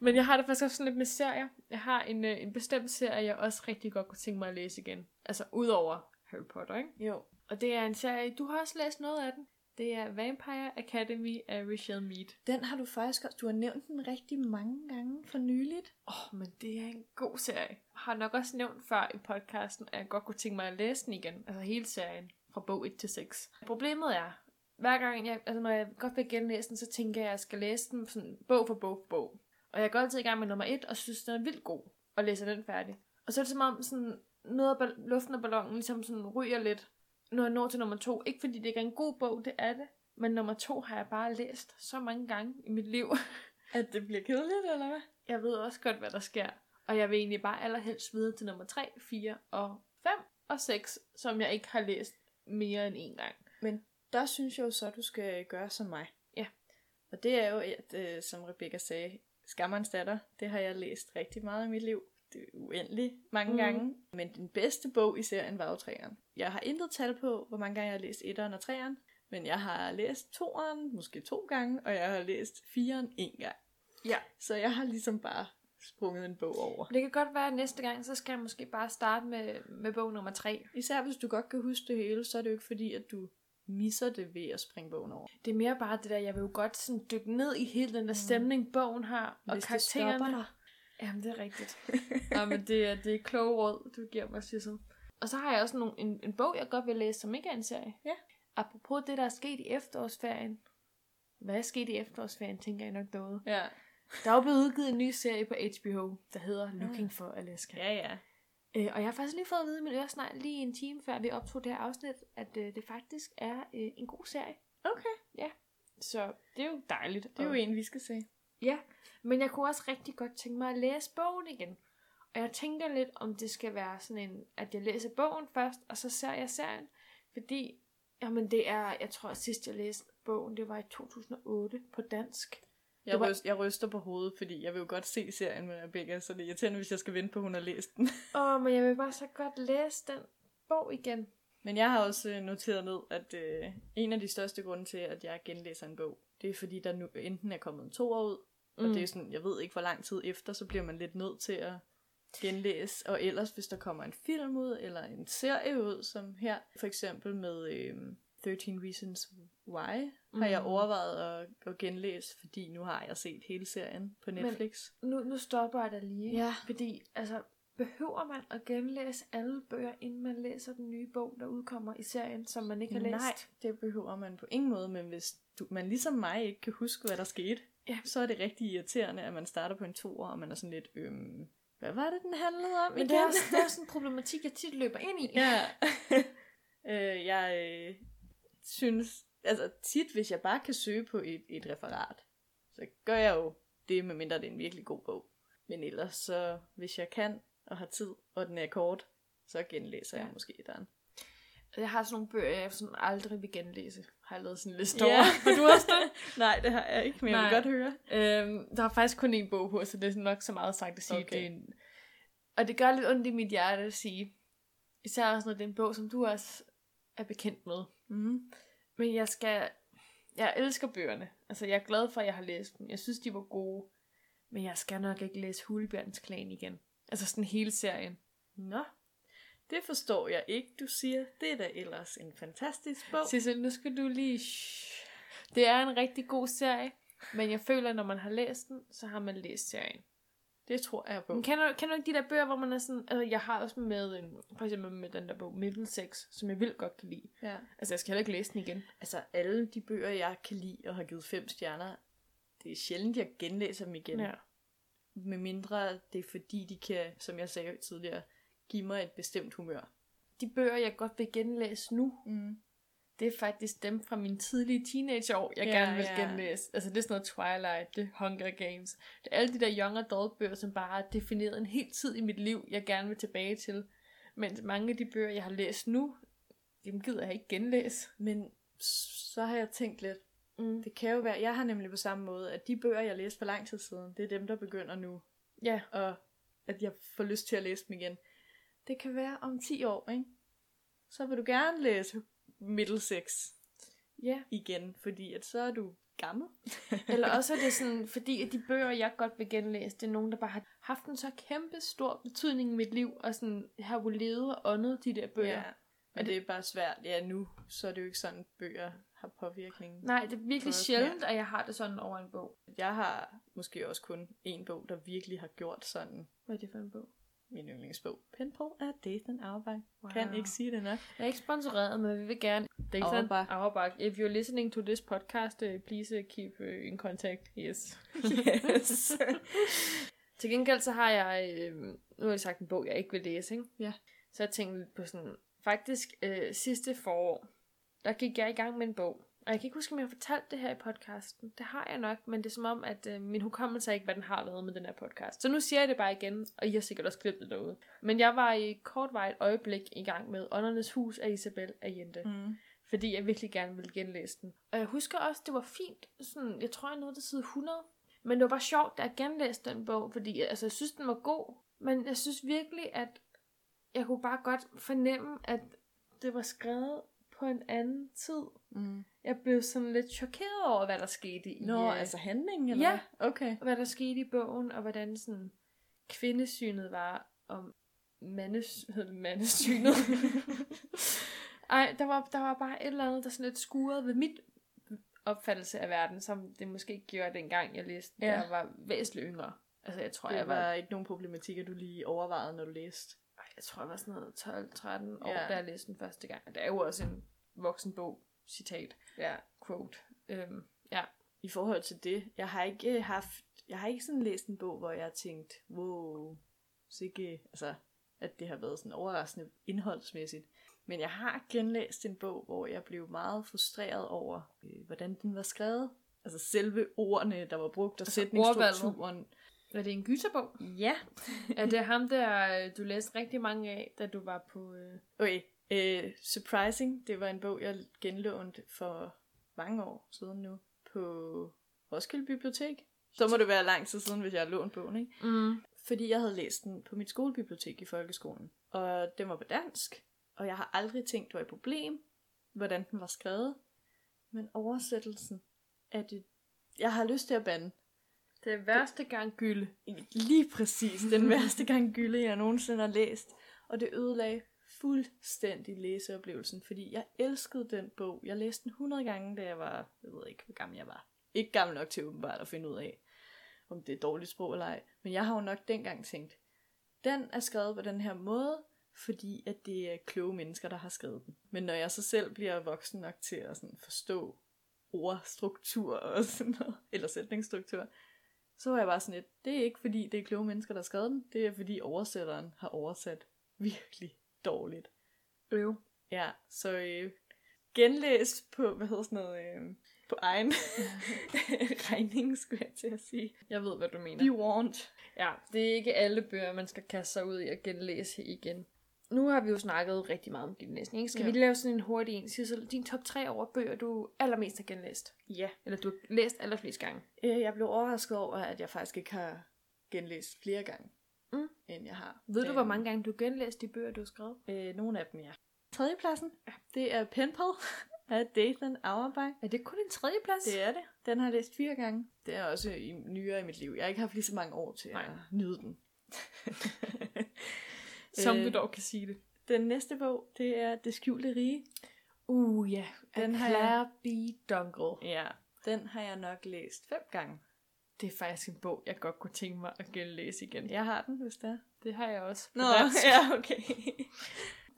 Men jeg har det faktisk også sådan lidt med serier. Jeg har en, øh, en bestemt serie, jeg også rigtig godt kunne tænke mig at læse igen. Altså udover Harry Potter, ikke?
Jo.
Og det er en serie, du har også læst noget af den. Det er Vampire Academy af Rachel Mead.
Den har du faktisk også, du har nævnt den rigtig mange gange for nyligt.
Åh, oh, men det er en god serie. Har nok også nævnt før i podcasten, at jeg godt kunne tænke mig at læse den igen. Altså hele serien fra bog 1 til 6. Problemet er, hver gang jeg, altså når jeg godt vil genlæse den, så tænker jeg, at jeg skal læse den sådan bog for bog for bog. Og jeg går altid i gang med nummer 1, og synes, den er vildt god, og læser den færdig. Og så er det som om sådan, noget af bal- luften af ballonen ligesom sådan ryger lidt, når jeg når til nummer 2. Ikke fordi det ikke er en god bog, det er det. Men nummer 2 har jeg bare læst så mange gange i mit liv.
At det bliver kedeligt, eller hvad?
Jeg ved også godt, hvad der sker. Og jeg vil egentlig bare allerhelst videre til nummer 3, 4 og 5 og 6, som jeg ikke har læst mere end en gang.
Men der synes jeg jo så, at du skal gøre som mig.
Ja.
Og det er jo, at, øh, som Rebecca sagde, Skammerens datter, det har jeg læst rigtig meget i mit liv. Det er uendelig mange mm.
Mhm.
gange. Men den bedste bog i serien var jo træeren. Jeg har intet tal på, hvor mange gange jeg har læst etteren og træeren. Men jeg har læst toeren måske to gange, og jeg har læst fireren en gang.
Ja.
Så jeg har ligesom bare sprunget en bog over.
Det kan godt være, at næste gang, så skal jeg måske bare starte med, med bog nummer 3.
Især hvis du godt kan huske det hele, så er det jo ikke fordi, at du misser det ved at springe bogen over.
Det er mere bare det der, jeg vil jo godt sådan dykke ned i hele den der stemning, bogen har, og
Hvis det
karaktererne.
stopper dig.
Jamen, det er rigtigt. Jamen, det er, det er kloge råd, du giver mig, Sissel. Og så har jeg også nogle, en, en bog, jeg godt vil læse, som ikke er en serie.
Ja.
Apropos det, der er sket i efterårsferien. Hvad er sket i efterårsferien, tænker jeg nok derude.
Ja.
Der er jo blevet udgivet en ny serie på HBO, der hedder
Ah.
Looking for Alaska.
Ja, ja.
Øh, og jeg har faktisk lige fået at vide i min øresnegl lige en time før vi optog det her afsnit, at øh, det faktisk er øh, en god serie.
Okay.
Så det er jo dejligt.
Det er jo
Og-
en, vi skal se.
Ja, men jeg kunne også rigtig godt tænke mig at læse bogen igen. Og jeg tænker lidt, om det skal være sådan en, at jeg læser bogen først, og så ser jeg serien. Fordi, jamen det er, jeg tror sidst jeg læste bogen, det var i 2008 på dansk.
Jeg,
Det var-
ryst, jeg ryster på hovedet, fordi jeg vil jo godt se serien med Rebecca, så det er irriterende, hvis jeg skal vente på, at hun har læst den.
Åh, men jeg vil bare så godt læse den bog igen.
Men jeg har også øh, noteret ned, at øh, en af de største grunde til, at jeg genlæser en bog, det er fordi, der nu enten er kommet en to år ud, mm. og det er sådan, jeg ved ikke, hvor lang tid efter, så bliver man lidt nødt til at genlæse. Og ellers, hvis der kommer en film ud, eller en serie ud, som her, for eksempel med øh, 13 Reasons Why, mm. har jeg
Mhm.
overvejet at, at genlæse, fordi nu har jeg set hele serien på
Men-
Netflix.
nu, nu stopper jeg da lige. ikke?
Ja.
Fordi, altså, behøver man at genlæse alle bøger, inden man læser den nye bog, der udkommer i serien, som man ikke har læst?
Nej, det behøver man på ingen måde, men hvis du, man ligesom mig ikke kan huske, hvad der skete,
Ja.
så er det rigtig irriterende, at man starter på en toer, og man er sådan lidt, øhm, hvad var det, den handlede om
Men
igen?
det er, også, det er også en problematik, jeg tit løber ind i.
Ja. øh, jeg øh, synes, altså tit, hvis jeg bare kan søge på et, et referat, så gør jeg jo det, medmindre det er en virkelig god bog. Men ellers så, hvis jeg kan og har tid, og den er kort, så genlæser ja. jeg
Ja.
måske etteren.
Jeg har sådan nogle bøger, jeg sådan aldrig vil genlæse. Har jeg lavet sådan en liste
Ja.
over. Har du også det?
Nej, det har jeg ikke, men jeg vil
Nej.
godt høre.
øhm, der er faktisk kun én bog på, så det er nok så meget sagt at sige.
Okay.
Okay. Det er en... Og det gør lidt ondt i mit hjerte at sige. Især også, når det er en bog, som du også er bekendt med.
Mm.
Men jeg skal... Jeg elsker bøgerne. Altså, jeg er glad for, at jeg har læst dem. Jeg synes, de var gode. Men jeg skal nok ikke læse Hulebjørns Klan igen. Altså sådan hele serien.
Nå, Det forstår jeg ikke, du siger. Det er da ellers en fantastisk bog.
Sissel, nu skal du lige... Shh. Det er en rigtig god serie, men jeg føler, at når man har læst den, så har man læst serien.
Det tror jeg på.
Men kender, du- kender du ikke de der bøger, hvor man er sådan... Altså, jeg har også med, en, for eksempel med den der bog, Middlesex, som jeg vildt godt kan lide.
Ja.
Altså, jeg skal heller ikke læse den igen.
Altså, alle de bøger, jeg kan lide og har givet fem stjerner, det er sjældent, jeg genlæser dem igen.
Ja.
Med mindre det er fordi, de kan, som jeg sagde tidligere, give mig et bestemt humør.
De bøger, jeg godt vil genlæse nu,
Mm.
det er faktisk dem fra mine tidlige teenageår, jeg
Ja,
ja, gerne vil
ja.
ja. genlæse. Altså det er sådan noget Twilight, det er Hunger Games. Det er alle de der young adult bøger, som bare har defineret en hel tid i mit liv, jeg gerne vil tilbage til. Mens mange af de bøger, jeg har læst nu, dem gider jeg ikke genlæse.
Men så har jeg tænkt lidt,
Mm.
det kan jo være, jeg har nemlig på samme måde, at de bøger, jeg læste for lang tid siden, det er dem, der begynder nu,
Ja,
og at jeg får lyst til at læse dem igen. Det kan være om 10 år, ikke? Så vil du gerne læse Middlesex
ja.
igen, fordi at så er du gammel.
Eller også er det sådan, fordi at de bøger, jeg godt vil genlæse, det er nogen, der bare har haft en så kæmpe stor betydning i mit liv, og sådan har jo levet og åndet de der bøger.
Ja. Men det er bare svært. Ja, nu så er det jo ikke sådan, bøger har påvirkning.
Nej, det er virkelig
Både
sjældent, at jeg har det sådan over en bog.
Jeg har måske også kun én bog, der virkelig har gjort sådan
Hvad er det for en bog?
min yndlingsbog. Penpal er Dathan Auerbach. Wow.
Wow.
Kan ikke sige det nok.
Jeg er ikke sponsoreret, men vi vil gerne. Dathan
Auerbach.
Auerbach. If you're listening to this podcast, uh, please uh, keep uh, in contact. Yes.
Yes.
Til gengæld så har jeg, øh, nu har jeg sagt en bog, jeg ikke vil læse, ikke?
Ja.
Så jeg tænkte lidt på sådan, faktisk øh, sidste forår, der gik jeg i gang med en bog. Og jeg kan ikke huske, om jeg har fortalt det her i podcasten. Det har jeg nok, men det er som om, at øh, min hukommelse er ikke, hvad den har været med den her podcast. Så nu siger jeg det bare igen, og I har sikkert også glemt det derude. Men jeg var i kort vej et øjeblik i gang med Åndernes Hus af Isabel Allende
mm.
fordi jeg virkelig gerne ville genlæse den. Og jeg husker også, det var fint. Sådan, jeg tror, jeg nåede til side 100. Men det var bare sjovt, da jeg genlæste den bog, fordi jeg, altså, jeg synes, den var god. Men jeg synes virkelig, at jeg kunne bare godt fornemme, at det var skrevet på en anden tid.
Mm.
Jeg blev sådan lidt chokeret over, hvad der skete i,
Nå,
øh,
altså handlingen, eller
Ja.
hvad? Okay.
hvad der skete i bogen, og hvordan sådan kvindesynet var om mandes, hed det mandesynet. Ej, der var, der var bare et eller andet, der sådan lidt skurede ved mit opfattelse af verden, som det måske ikke gjorde dengang, jeg læste, ja.
Ja.
da jeg var væsentligt yngre. Altså, jeg tror,
Det
jeg
var
var,
ikke nogen problematikker, du lige overvejede, når du læste.
ej, jeg tror, jeg var sådan noget 12-13 år,
Ja.
ja. da jeg læste den første gang. Og det er jo også en voksenbog, citat,
Ja.
quote. Øhm, ja.
I forhold til det, jeg har ikke øh, haft, jeg har ikke sådan læst en bog, hvor jeg har tænkt, wow, sikke, altså, at det har været sådan overraskende indholdsmæssigt. Men jeg har genlæst en bog, hvor jeg blev meget frustreret over, øh, hvordan den var skrevet. Altså selve ordene, der var brugt, og
Altså,
sætningsstrukturen.
Er det en gyserbog?
Ja.
er det ham der, øh, du læste rigtig mange af, da du var på... Øh,
Okay. Øh, Surprising, det var en bog, jeg genlånte for mange år siden nu på Roskilde Bibliotek. Så må det være lang tid siden, hvis jeg har lånt bogen, ikke?
mm.
fordi jeg havde læst den på mit skolebibliotek i folkeskolen. Og den var på dansk, og jeg har aldrig tænkt, det var et problem, hvordan den var skrevet. Men oversættelsen er det... Jeg har lyst til at bande.
Det er værste gang gylde.
Lige præcis den værste gang gylde, jeg nogensinde har læst. Og det ødelagde fuldstændig læseoplevelsen, fordi jeg elskede den bog. Jeg læste den 100 gange, da jeg var, jeg ved ikke, hvor gammel jeg var. Ikke gammel nok til åbenbart at finde ud af, om det er dårligt sprog eller ej. Men jeg har jo nok dengang tænkt, den er skrevet på den her måde, fordi at det er kloge mennesker, der har skrevet den. Men når jeg så selv bliver voksen nok til at sådan forstå ordstruktur og sådan noget, eller sætningsstruktur, så var jeg bare sådan lidt, det er ikke fordi, det er kloge mennesker, der har skrevet den, det er fordi oversætteren har oversat virkelig dårligt.
Øv.
Ja, så øh, genlæs på, hvad hedder sådan noget, øh, på egen regning, skulle jeg til at sige.
Jeg ved, hvad du mener.
Be warned.
Ja, det er ikke alle bøger, man skal kaste sig ud i at genlæse igen. Nu har vi jo snakket rigtig meget om genlæsning. ikke? Skal
Ja.
ja. vi lige lave sådan en hurtig en? Sissel, din top 3 over bøger, du allermest har genlæst.
Ja,
Eller du har læst allerflest gange.
øh, jeg blev overrasket over, at jeg faktisk ikke har genlæst flere gange,
Mm.
end jeg har.
Ved du, hvor
Øhm,
mange gange du har genlæst de bøger, du har skrevet?
Øh, nogle af dem, ja. Tredjepladsen, det er Penpal af Dathan Auerbach.
Er det kun en tredjeplads?
Det er det. Den har jeg læst fire gange. Det er også i, nyere i mit liv. Jeg har ikke haft lige så mange år til Nej.
Nej.
at nyde den.
Som
Øh,
du dog kan sige det.
Den næste bog, det er Det skjulte rige.
Uh ja,
Den
den
har
har
jeg-
Claire B. Dunkel.
Ja, den har jeg nok læst fem gange.
Det er faktisk en bog, jeg godt kunne tænke mig at genlæse igen.
Jeg har den, hvis det er.
Det har jeg også. på
Nå,
dansk.
ja, okay.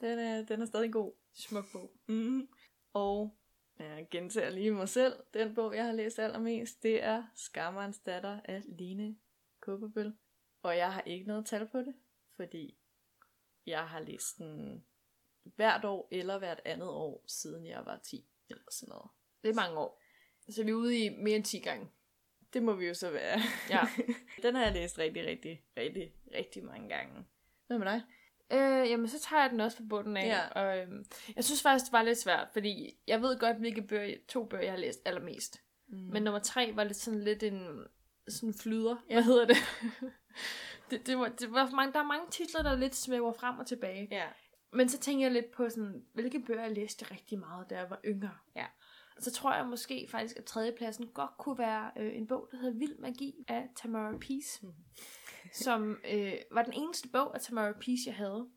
Den er, den er stadig god.
Smuk bog.
Mm. Og jeg gentager lige mig selv. Den bog, jeg har læst allermest, det er Skammerens datter af Line Kåberbøl. Og jeg har ikke noget tal på det, fordi jeg har læst den hvert år eller hvert andet år, siden jeg var 10 eller sådan noget.
Det er mange år. Så vi er ude i mere end 10 gange.
Det må vi jo så være.
Ja.
den har jeg læst rigtig, rigtig, rigtig, rigtig mange gange. Hvad med dig?
Øh, jamen, så tager jeg den også fra bunden af.
Ja.
Og, øhm, jeg synes faktisk, det var lidt svært, fordi jeg ved godt, hvilke bøger, to bøger, jeg har læst allermest.
Mm.
Men nummer tre var lidt sådan lidt en sådan flyder.
Ja.
Ja. Hvad hedder det? det, det, var, det var mange, der er mange titler, der lidt svæver frem og tilbage.
ja.
Men så tænker jeg lidt på, sådan, hvilke bøger jeg læste rigtig meget, da jeg var yngre.
Ja.
Så tror jeg måske faktisk, at tredjepladsen godt kunne være øh, en bog, der hedder Vild Magi af Tamara Peace.
Mhm.
som øh, var den eneste bog af Tamara Peace, jeg havde.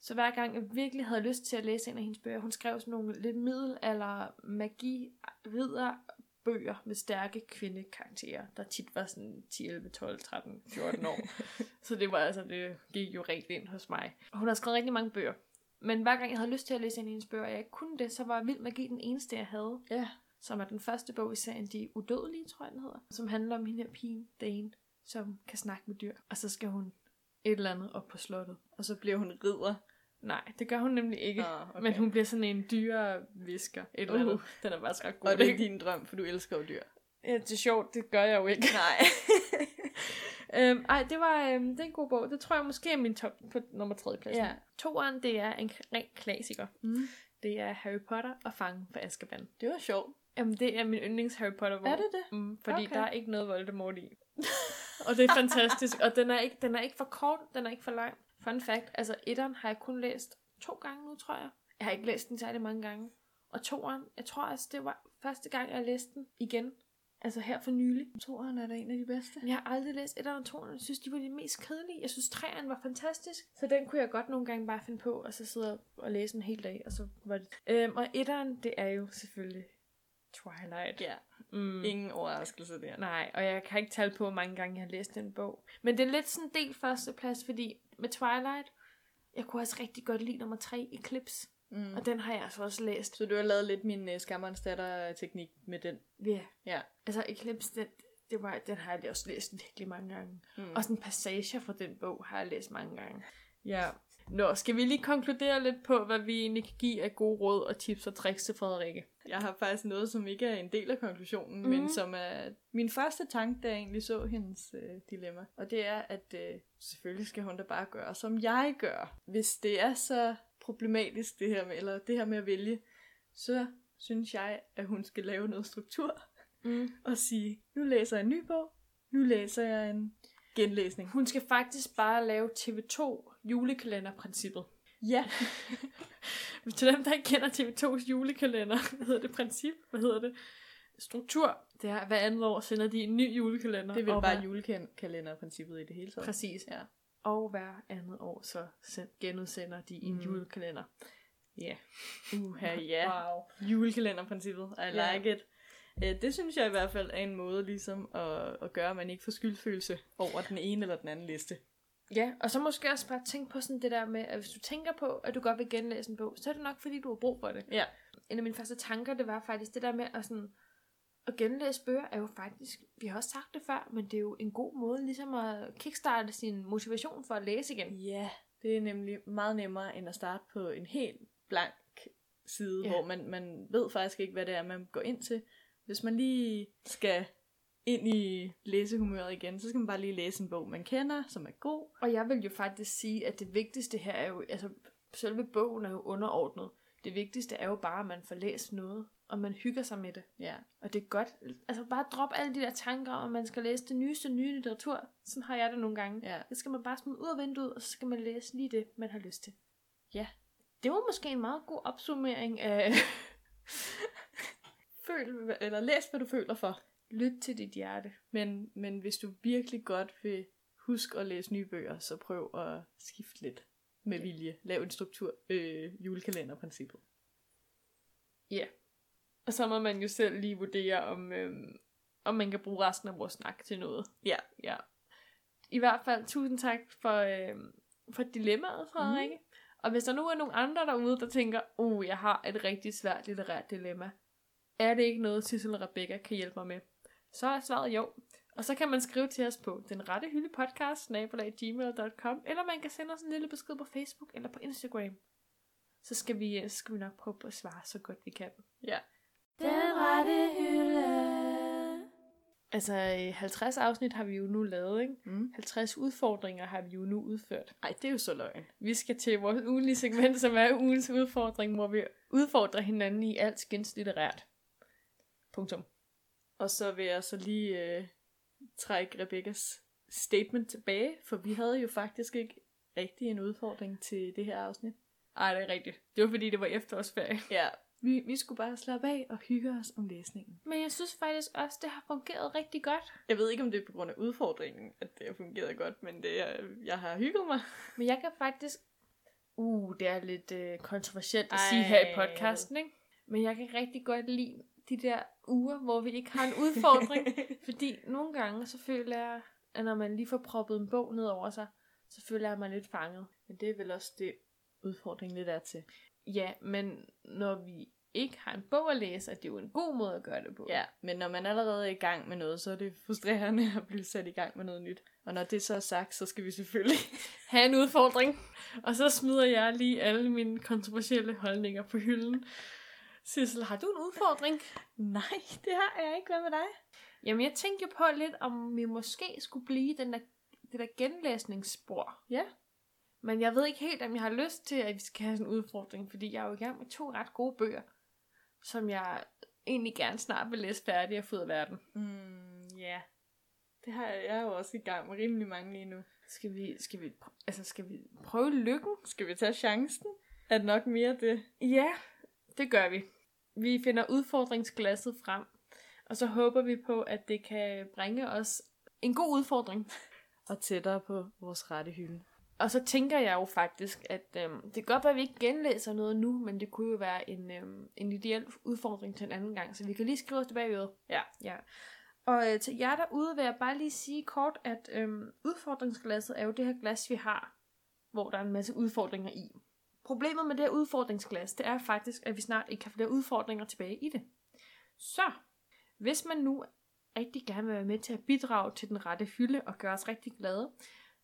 Så hver gang jeg virkelig havde lyst til at læse en af hendes bøger, hun skrev sådan nogle lidt middel- eller magi ridder bøger med stærke kvindekarakterer, der tit var sådan 10, 11, 12, 13, 14 år. Så det var altså, det gik jo rent ind hos mig. Og hun har skrevet rigtig mange bøger. Men hver gang jeg havde lyst til at læse en af hendes bøger, og jeg ikke kunne det, så var Vild Magi den eneste, jeg havde.
Ja.
Som er den første bog i serien De Udødelige, tror jeg den hedder. Som handler om hende her pigen, Dane, som kan snakke med dyr. Og så skal hun et eller andet op på slottet.
Og så bliver hun ridder.
Nej, det gør hun nemlig ikke.
Nå, okay.
Men hun bliver sådan en dyre visker. Et eller andet.
Uh.
Den er faktisk ret god.
Og det er
ikke?
din drøm, for du elsker jo dyr.
Uh-huh. Ja, det er sjovt, det gør jeg jo ikke.
Nej.
øhm, ej, det var øhm, det er en god bog. Det tror jeg måske er min top på nummer 3. pladsen.
Ja.
Toeren, det er en k- ren klassiker.
Mm.
Det er Harry Potter og Fangen for Azkaban.
Det var sjovt.
Jamen, det er min yndlings Harry Potter bog.
Er det det?
Mm, fordi
Okay.
okay. der er ikke noget Voldemort i. og det er fantastisk. Og den er, ikke, den er ikke for kort, den er ikke for lang. Fun fact, altså etteren har jeg kun læst to gange nu, tror jeg. Jeg har ikke læst den særlig mange gange. Og toeren, jeg tror altså, det var første gang, jeg læste den igen. Altså her for nylig.
Toren er da en af de bedste.
Jeg har aldrig læst et og toerne. Jeg synes, de var de mest kedelige. Jeg synes, træerne var fantastisk. Så den kunne jeg godt nogle gange bare finde på, og så sidde og læse en hel dag, og så var det... Øhm, og etteren, det er jo selvfølgelig Twilight.
Ja.
Mm.
Ingen overraskelse der.
Nej, og jeg kan ikke tale på, hvor mange gange jeg har læst den bog. Men det er lidt sådan en del førsteplads, fordi med Twilight, jeg kunne også rigtig godt lide nummer 3, Eclipse.
Mm.
Og den har jeg altså også læst.
Så du har lavet lidt min uh, skammerens datter-teknik med den.
Ja.
Ja.
Altså Eclipse, den, det var, den har jeg også læst virkelig mange gange.
Mm.
Og sådan passager fra den bog har jeg læst mange gange. Ja. Nå, skal vi lige konkludere lidt på, hvad vi egentlig kan give af gode råd og tips og tricks til Frederikke?
Jeg har faktisk noget, som ikke er en del af konklusionen, mm.
Mhm.
men som er min første tanke, da jeg egentlig så hendes øh, dilemma. Og det er, at øh, selvfølgelig skal hun da bare gøre, som jeg gør. Hvis det er så problematisk, det her med, eller det her med at vælge, så synes jeg, at hun skal lave noget struktur
Mm.
og sige, nu læser jeg en ny bog, nu læser jeg en genlæsning.
Hun skal faktisk bare lave TV2 julekalenderprincippet.
Ja,
Til dem, der ikke kender TV2's julekalender, hvad hedder det princip? Hvad hedder det? Struktur. Det er, hver andet år sender de en ny julekalender.
Det er vel
og
bare
hver-
julekalenderprincippet i det hele taget.
Præcis.
Ja.
Og hver andet år, så sen- genudsender de en
Mm.
mm. julekalender. Ja.
Uha, ja.
Wow.
Julekalenderprincippet. I
Ja.
like it. Øh, Det synes jeg i hvert fald er en måde ligesom at, at gøre, at man ikke får skyldfølelse over den ene eller den anden liste.
Ja, og så måske også bare tænke på sådan det der med, at hvis du tænker på, at du godt vil genlæse en bog, så er det nok, fordi du har brug for det.
Ja.
En af mine første tanker, det var faktisk det der med at sådan, at genlæse bøger er jo faktisk, vi har også sagt det før, men det er jo en god måde ligesom at kickstarte sin motivation for at læse igen.
Ja, det er nemlig meget nemmere end at starte på en helt blank side,
Ja.
hvor man, man ved faktisk ikke, hvad det er, man går ind til. Hvis man lige skal ind i læsehumøret igen, så skal man bare lige læse en bog, man kender, som er god.
Og jeg vil jo faktisk sige, at det vigtigste her er jo, altså selve bogen er jo underordnet. Det vigtigste er jo bare, at man får læst noget, og man hygger sig med det.
Ja.
Og det er godt, altså bare drop alle de der tanker om, at man skal læse det nyeste nye litteratur. Sådan har jeg det nogle gange.
Ja.
Det skal man bare smide ud af vinduet, og så skal man læse lige det, man har lyst til.
Ja.
Det var måske en meget god opsummering af...
Føl, eller læs, hvad du føler for.
Lyt til dit hjerte.
Men, men hvis du virkelig godt vil huske at læse nye bøger, så prøv at skifte lidt. med vilje. Lav en struktur. Øh, julekalenderprincippet.
Ja. Og så må man jo selv lige vurdere, om, øhm, om man kan bruge resten af vores snak til noget.
Ja.
ja. I hvert fald tusind tak for, øhm, for dilemmaet, Frederikke. Mm. Og hvis der nu er nogen andre derude, der tænker, oh, jeg har et rigtig svært litterært dilemma. Er det ikke noget, Sissel og Rebecca kan hjælpe mig med? Så er svaret jo. Og så kan man skrive til os på den rette hylde podcast, gmail.com, eller man kan sende os en lille besked på Facebook eller på Instagram. Så skal vi, øh, så skal vi nok prøve på at svare så godt vi kan.
Ja.
Den rette hylde.
Altså øh, 50 afsnit har vi jo nu lavet, ikke?
Mm.
50 udfordringer har vi jo nu udført.
Ej, det er jo så løgn.
Vi skal til vores ugenlige segment, som er ugens udfordring, hvor vi udfordrer hinanden i alt skønslitterært. Punktum.
Og så vil jeg så lige øh, trække Rebekkas statement tilbage, for vi havde jo faktisk ikke rigtig en udfordring til det her afsnit.
Ej, det er rigtigt. Det var fordi, det var efterårsferie.
Ja. Vi, vi skulle bare slappe af og hygge os om læsningen.
Men jeg synes faktisk også, det har fungeret rigtig godt.
Jeg ved ikke, om det er på grund af udfordringen, at det har fungeret godt, men det er, jeg har hygget mig.
Men jeg kan faktisk... Uh, det er lidt øh, kontroversielt at
Ej.
sige her i podcasten, ikke? Men jeg kan rigtig godt lide de der uger, hvor vi ikke har en udfordring. fordi nogle gange, så føler jeg, at når man lige får proppet en bog ned over sig, så føler jeg mig lidt fanget.
men det er vel også det, udfordringen lidt er til.
Ja, men når vi ikke har en bog at læse, er det jo en god måde at gøre det på.
Ja, men når man allerede er i gang med noget, så er det frustrerende at blive sat i gang med noget nyt. Og når det så er sagt, så skal vi selvfølgelig...
have en udfordring. Og så smider jeg lige alle mine kontroversielle holdninger på hylden. Sissel, har du en udfordring?
Nej, det har jeg ikke. Hvad med dig?
Jamen, jeg tænkte jo på lidt, om vi måske skulle blive den der, det der genlæsningsspor.
Ja.
Men jeg ved ikke helt, om jeg har lyst til, at vi skal have sådan en udfordring, fordi jeg er jo i gang med to ret gode bøger, som jeg egentlig gerne snart vil læse færdig og få ud af verden.
Mm, ja. Det har jeg, jeg er jo også i gang med rimelig mange lige nu.
Skal vi, skal vi, pr- altså skal vi prøve lykken?
Skal vi tage chancen? Er det nok mere det?
Ja, det gør vi. Vi finder udfordringsglasset frem, og så håber vi på, at det kan bringe os en god udfordring.
Og tættere på vores rette hylde.
Og så tænker jeg jo faktisk, at øhm, det kan godt være, at vi ikke genlæser noget nu, men det kunne jo være en, øhm, en ideel udfordring til en anden gang, så vi kan lige skrive os det bagud.
Ja.
ja. Og øh, til jer derude vil jeg bare lige sige kort, at øhm, udfordringsglasset er jo det her glas, vi har, hvor der er en masse udfordringer i. Problemet med det her udfordringsglas, det er faktisk, at vi snart ikke har flere udfordringer tilbage i det. Så, hvis man nu rigtig gerne vil være med til at bidrage til den rette hylde og gøre os rigtig glade,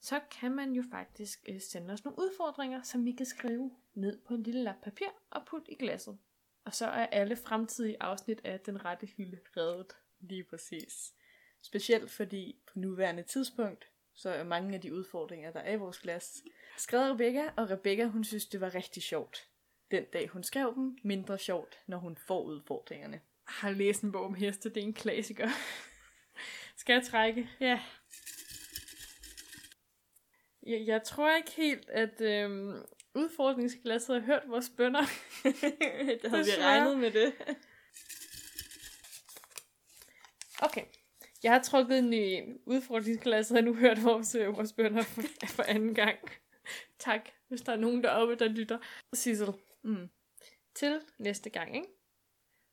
så kan man jo faktisk øh, sende os nogle udfordringer, som vi kan skrive ned på en lille lap papir og putte i glasset. Og så er alle fremtidige afsnit af Den Rette Hylde reddet.
Lige præcis. Specielt fordi på nuværende tidspunkt, så er mange af de udfordringer, der er i vores glas, skrevet af Rebecca, og Rebecca, hun synes, det var rigtig sjovt. Den dag, hun skrev dem, mindre sjovt, når hun får udfordringerne.
Jeg har læst en bog om heste, det er en klassiker. Skal jeg trække?
Ja.
Jeg, jeg tror ikke helt, at øhm, udfordringsglasset har hørt vores bønder.
det havde vi
Desværre.
regnet med det.
Okay. Jeg har trukket en i udfordringsklasse, og nu hørt vores, øh, vores bønder for, for anden gang. Tak, hvis der er nogen deroppe, der lytter. Sissel,
Mm.
til næste gang, ikke?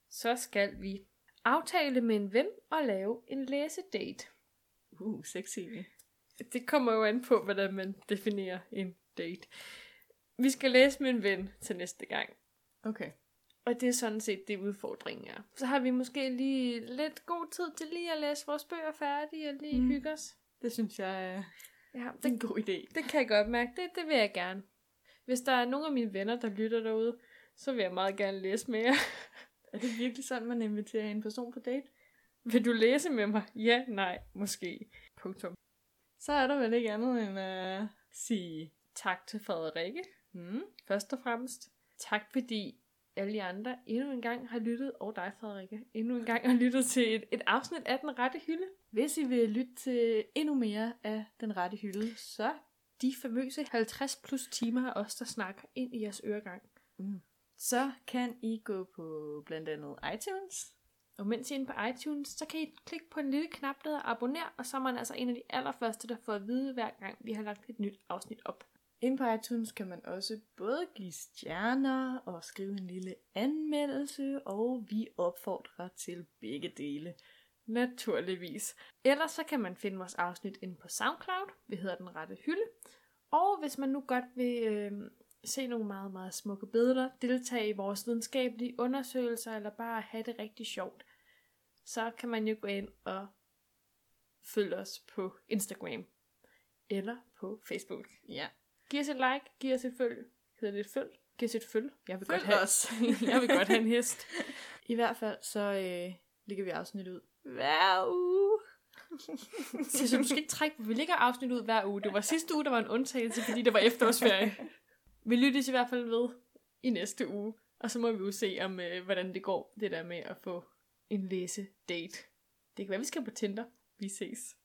så skal vi aftale med en ven og lave en læsedate.
Uh, sexy.
Det kommer jo an på, hvordan man definerer en date. Vi skal læse med en ven til næste gang.
Okay.
Og det er sådan set det udfordringen er. Så har vi måske lige lidt god tid til lige at læse vores bøger færdige og lige
Mm.
mm. hygge os.
Det synes jeg er
Ja,
det er en god idé.
Det kan jeg godt mærke. Det, det vil jeg gerne. Hvis der er nogen af mine venner, der lytter derude, så vil jeg meget gerne læse med jer.
Er det virkelig sådan, man inviterer en person på date?
Vil du læse med mig? Ja, nej, måske. Punktum.
Så er der vel ikke andet øh. end at sige,
Tak til Frederikke, Mm.
hmm,
først og fremmest. Tak fordi alle jer andre endnu en gang har lyttet, og dig Frederikke, endnu en gang har lyttet til et, et afsnit af Den Rette Hylde.
Hvis I vil lytte til endnu mere af Den Rette Hylde, så...
De famøse 50 plus timer af os, der snakker ind i jeres øregang.
Mm. Så kan I gå på blandt andet iTunes.
Og mens I er inde på iTunes, så kan I klikke på en lille knap, der hedder abonner, og så er man altså en af de allerførste, der får at vide, hver gang vi har lagt et nyt afsnit op.
Inde på iTunes kan man også både give stjerner og skrive en lille anmeldelse, og vi opfordrer til begge dele.
Naturligvis. Ellers så kan man finde vores afsnit inde på SoundCloud. Vi hedder Den Rette Hylde. Og hvis man nu godt vil øh, se nogle meget, meget smukke billeder, deltage i vores videnskabelige undersøgelser, eller bare have det rigtig sjovt, så kan man jo gå ind og følge os på Instagram eller på Facebook.
Ja,
Giv os et like, giv os et følg. Hedder det et følg? Giv os et følg. Jeg vil godt
følg
have,
os.
jeg vil godt have en hest.
I hvert fald så øh, ligger vi afsnit ud hver uge.
Så jeg synes, du skal ikke trække, på, vi lægger afsnit ud hver uge. Det var sidste uge, der var en undtagelse, fordi det var efterårsferie. Vi lyttes i hvert fald ved i næste uge, og så må vi jo se, om øh, hvordan det går, det der med at få en læse-date. Det kan være, vi skal på Tinder. Vi ses.